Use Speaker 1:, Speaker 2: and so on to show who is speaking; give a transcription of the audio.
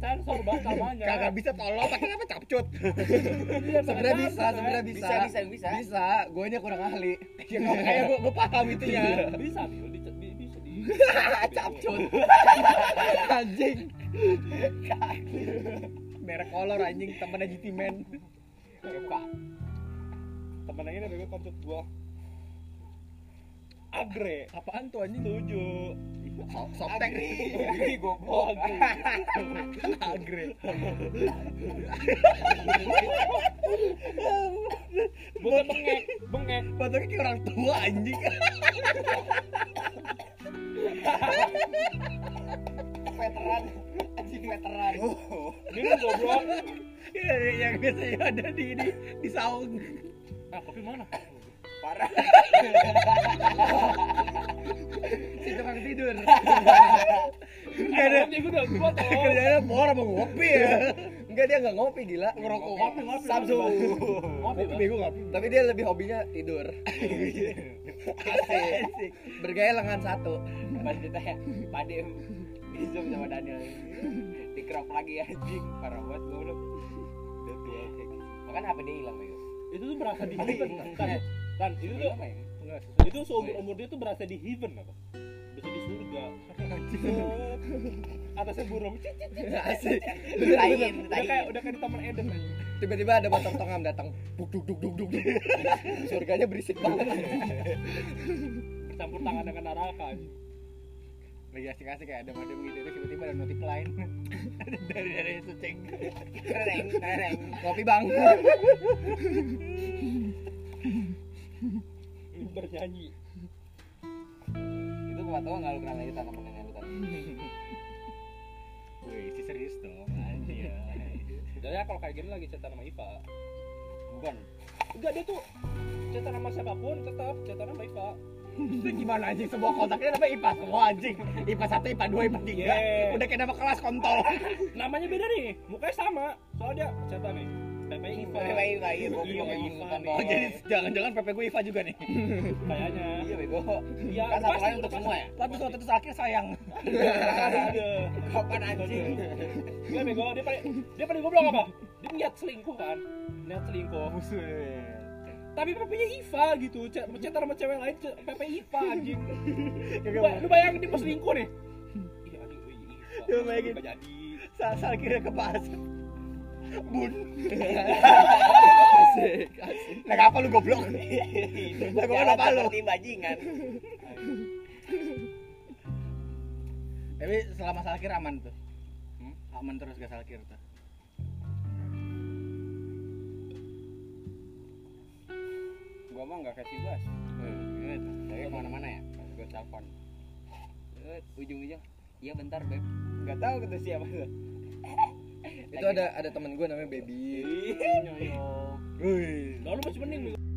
Speaker 1: Kan
Speaker 2: kagak bisa tolong pakai apa capcut
Speaker 1: Iya,
Speaker 3: sebenarnya bisa
Speaker 1: kan?
Speaker 3: sebenarnya bisa
Speaker 4: Bisa, bisa, bisa.
Speaker 3: bisa gue nya kurang ahli Iya.
Speaker 2: ya kok kayak gua gua paham itu ya
Speaker 1: bisa Bil, di, di, bisa di
Speaker 3: capcut anjing
Speaker 2: merek kolor anjing temennya GT Man
Speaker 4: Buka.
Speaker 1: temennya ini bego konsep gua agre
Speaker 2: apaan tuh anjing
Speaker 1: setuju
Speaker 2: So- softtek
Speaker 4: Agri. Agri
Speaker 1: oh
Speaker 4: goblok.
Speaker 1: agre
Speaker 2: agre
Speaker 1: bukan kan bengek bengek
Speaker 2: Patoknya kayak orang tua anjing
Speaker 4: Veteran. Anjing veteran.
Speaker 1: minum goblok
Speaker 2: Oh. Iya, yang biasanya ada di di, di saung
Speaker 1: ah kopi mana
Speaker 4: Parah.
Speaker 2: si tukang tidur
Speaker 1: Gak ada. Eh, Kopi gua udah gua tau.
Speaker 2: kerjanya bor sama ngopi ya
Speaker 3: enggak dia nggak ngopi gila
Speaker 2: ngerokok
Speaker 1: Ngopi, ngopi.
Speaker 3: Samsu
Speaker 1: Ngopi,
Speaker 2: ngopi
Speaker 1: Bang.
Speaker 2: bego ngopi
Speaker 3: tapi dia lebih hobinya tidur asik
Speaker 2: Asik.
Speaker 3: bergaya lengan satu
Speaker 4: Pas ditanya, Pade di zoom sama Daniel. Dikerok lagi anjing. Parah banget gua udah. Udah tua.
Speaker 2: gitu.
Speaker 4: Bahkan HP dia
Speaker 2: ya?
Speaker 4: hilang, Bego.
Speaker 1: Itu tuh berasa di heaven kan. Kan itu tuh
Speaker 2: ya?
Speaker 4: Hilang, Bego.
Speaker 1: itu seumur umur dia tuh berasa di heaven apa? Berasa di surga. Atasnya burung. Cik, cik, cik.
Speaker 3: asik
Speaker 4: Ditain,
Speaker 1: Udah kayak
Speaker 4: ditain.
Speaker 1: udah kayak di taman Eden kan? anjing.
Speaker 3: tiba-tiba ada batang tongam datang duk duk duk duk duk duk. surganya berisik banget
Speaker 1: Bercampur tangan dengan neraka anjing.
Speaker 2: lagi asik-asik kayak ada ada begitu terus tiba-tiba ada notif lain dari dari seceng
Speaker 4: Tereng, tereng.
Speaker 3: ngopi bang
Speaker 1: Bernyanyi.
Speaker 4: Itu gua tahu enggak lu kenal lagi tanpa mengenai lu tadi.
Speaker 2: wih si serius dong anjir
Speaker 1: Jadi kalau kayak gini lagi cetan sama Iva.
Speaker 4: Bukan.
Speaker 1: Enggak dia tuh cetan sama siapapun tetap cetan sama Iva.
Speaker 2: itu gimana anjing semua kontaknya nama IPA semua anjing IPA 1, IPA 2, IPA 3
Speaker 3: Iya.
Speaker 1: Yeah.
Speaker 2: udah kayak nama kelas kontol
Speaker 1: Namanya beda nih, mukanya sama. Soalnya dia cetan nih. Namanya Iva.
Speaker 4: Baik, baik, goblok
Speaker 1: Iya,
Speaker 4: emang
Speaker 1: Iva
Speaker 4: bukan
Speaker 1: nih.
Speaker 2: oh
Speaker 4: bawah.
Speaker 2: jadi jangan-jangan PP gue IPA juga nih
Speaker 1: Kayaknya.
Speaker 4: Iya, Bego.
Speaker 1: Iya,
Speaker 4: Kan satu
Speaker 1: pasti,
Speaker 4: lain untuk
Speaker 1: pasti.
Speaker 4: semua ya.
Speaker 2: Pantus waktu itu akhir sayang
Speaker 1: Ada.
Speaker 4: Kapan anjing?
Speaker 1: Gue Iya, bego, dia paling dia paling goblok apa? Dia niat selingkuh kan. Niat
Speaker 3: Oh,
Speaker 1: selingkuh.
Speaker 2: musuh
Speaker 1: Tapi PP-nya Iva gitu, ce- cetar sama cewek lain, ce- PP Iva anjing. Lu,
Speaker 2: Coba
Speaker 1: lu bayangin dia pas selingkuh nih. Iya anjing, iya, Iva.
Speaker 2: Coba bayangin.
Speaker 1: Nggak jadi.
Speaker 2: sal kira ke pas bun
Speaker 3: asik asik Iya.
Speaker 2: lah apa lu goblok lah gua
Speaker 4: Jangan kan?
Speaker 2: kenapa lu
Speaker 4: seperti bajingan.
Speaker 2: tapi selama salkir aman tuh
Speaker 4: Hmm?
Speaker 2: aman terus gak salkir tuh
Speaker 4: Gua mah enggak kasih bas.
Speaker 2: Hmm. Iya,
Speaker 4: Tapi kemana-mana ya, pas gue telepon Eh, Ujung-ujung, iya bentar Beb Gak tau kata siapa tuh
Speaker 3: itu ada ada teman gue namanya baby
Speaker 1: Nyoyo.
Speaker 2: Wih.
Speaker 1: Lalu masih mending.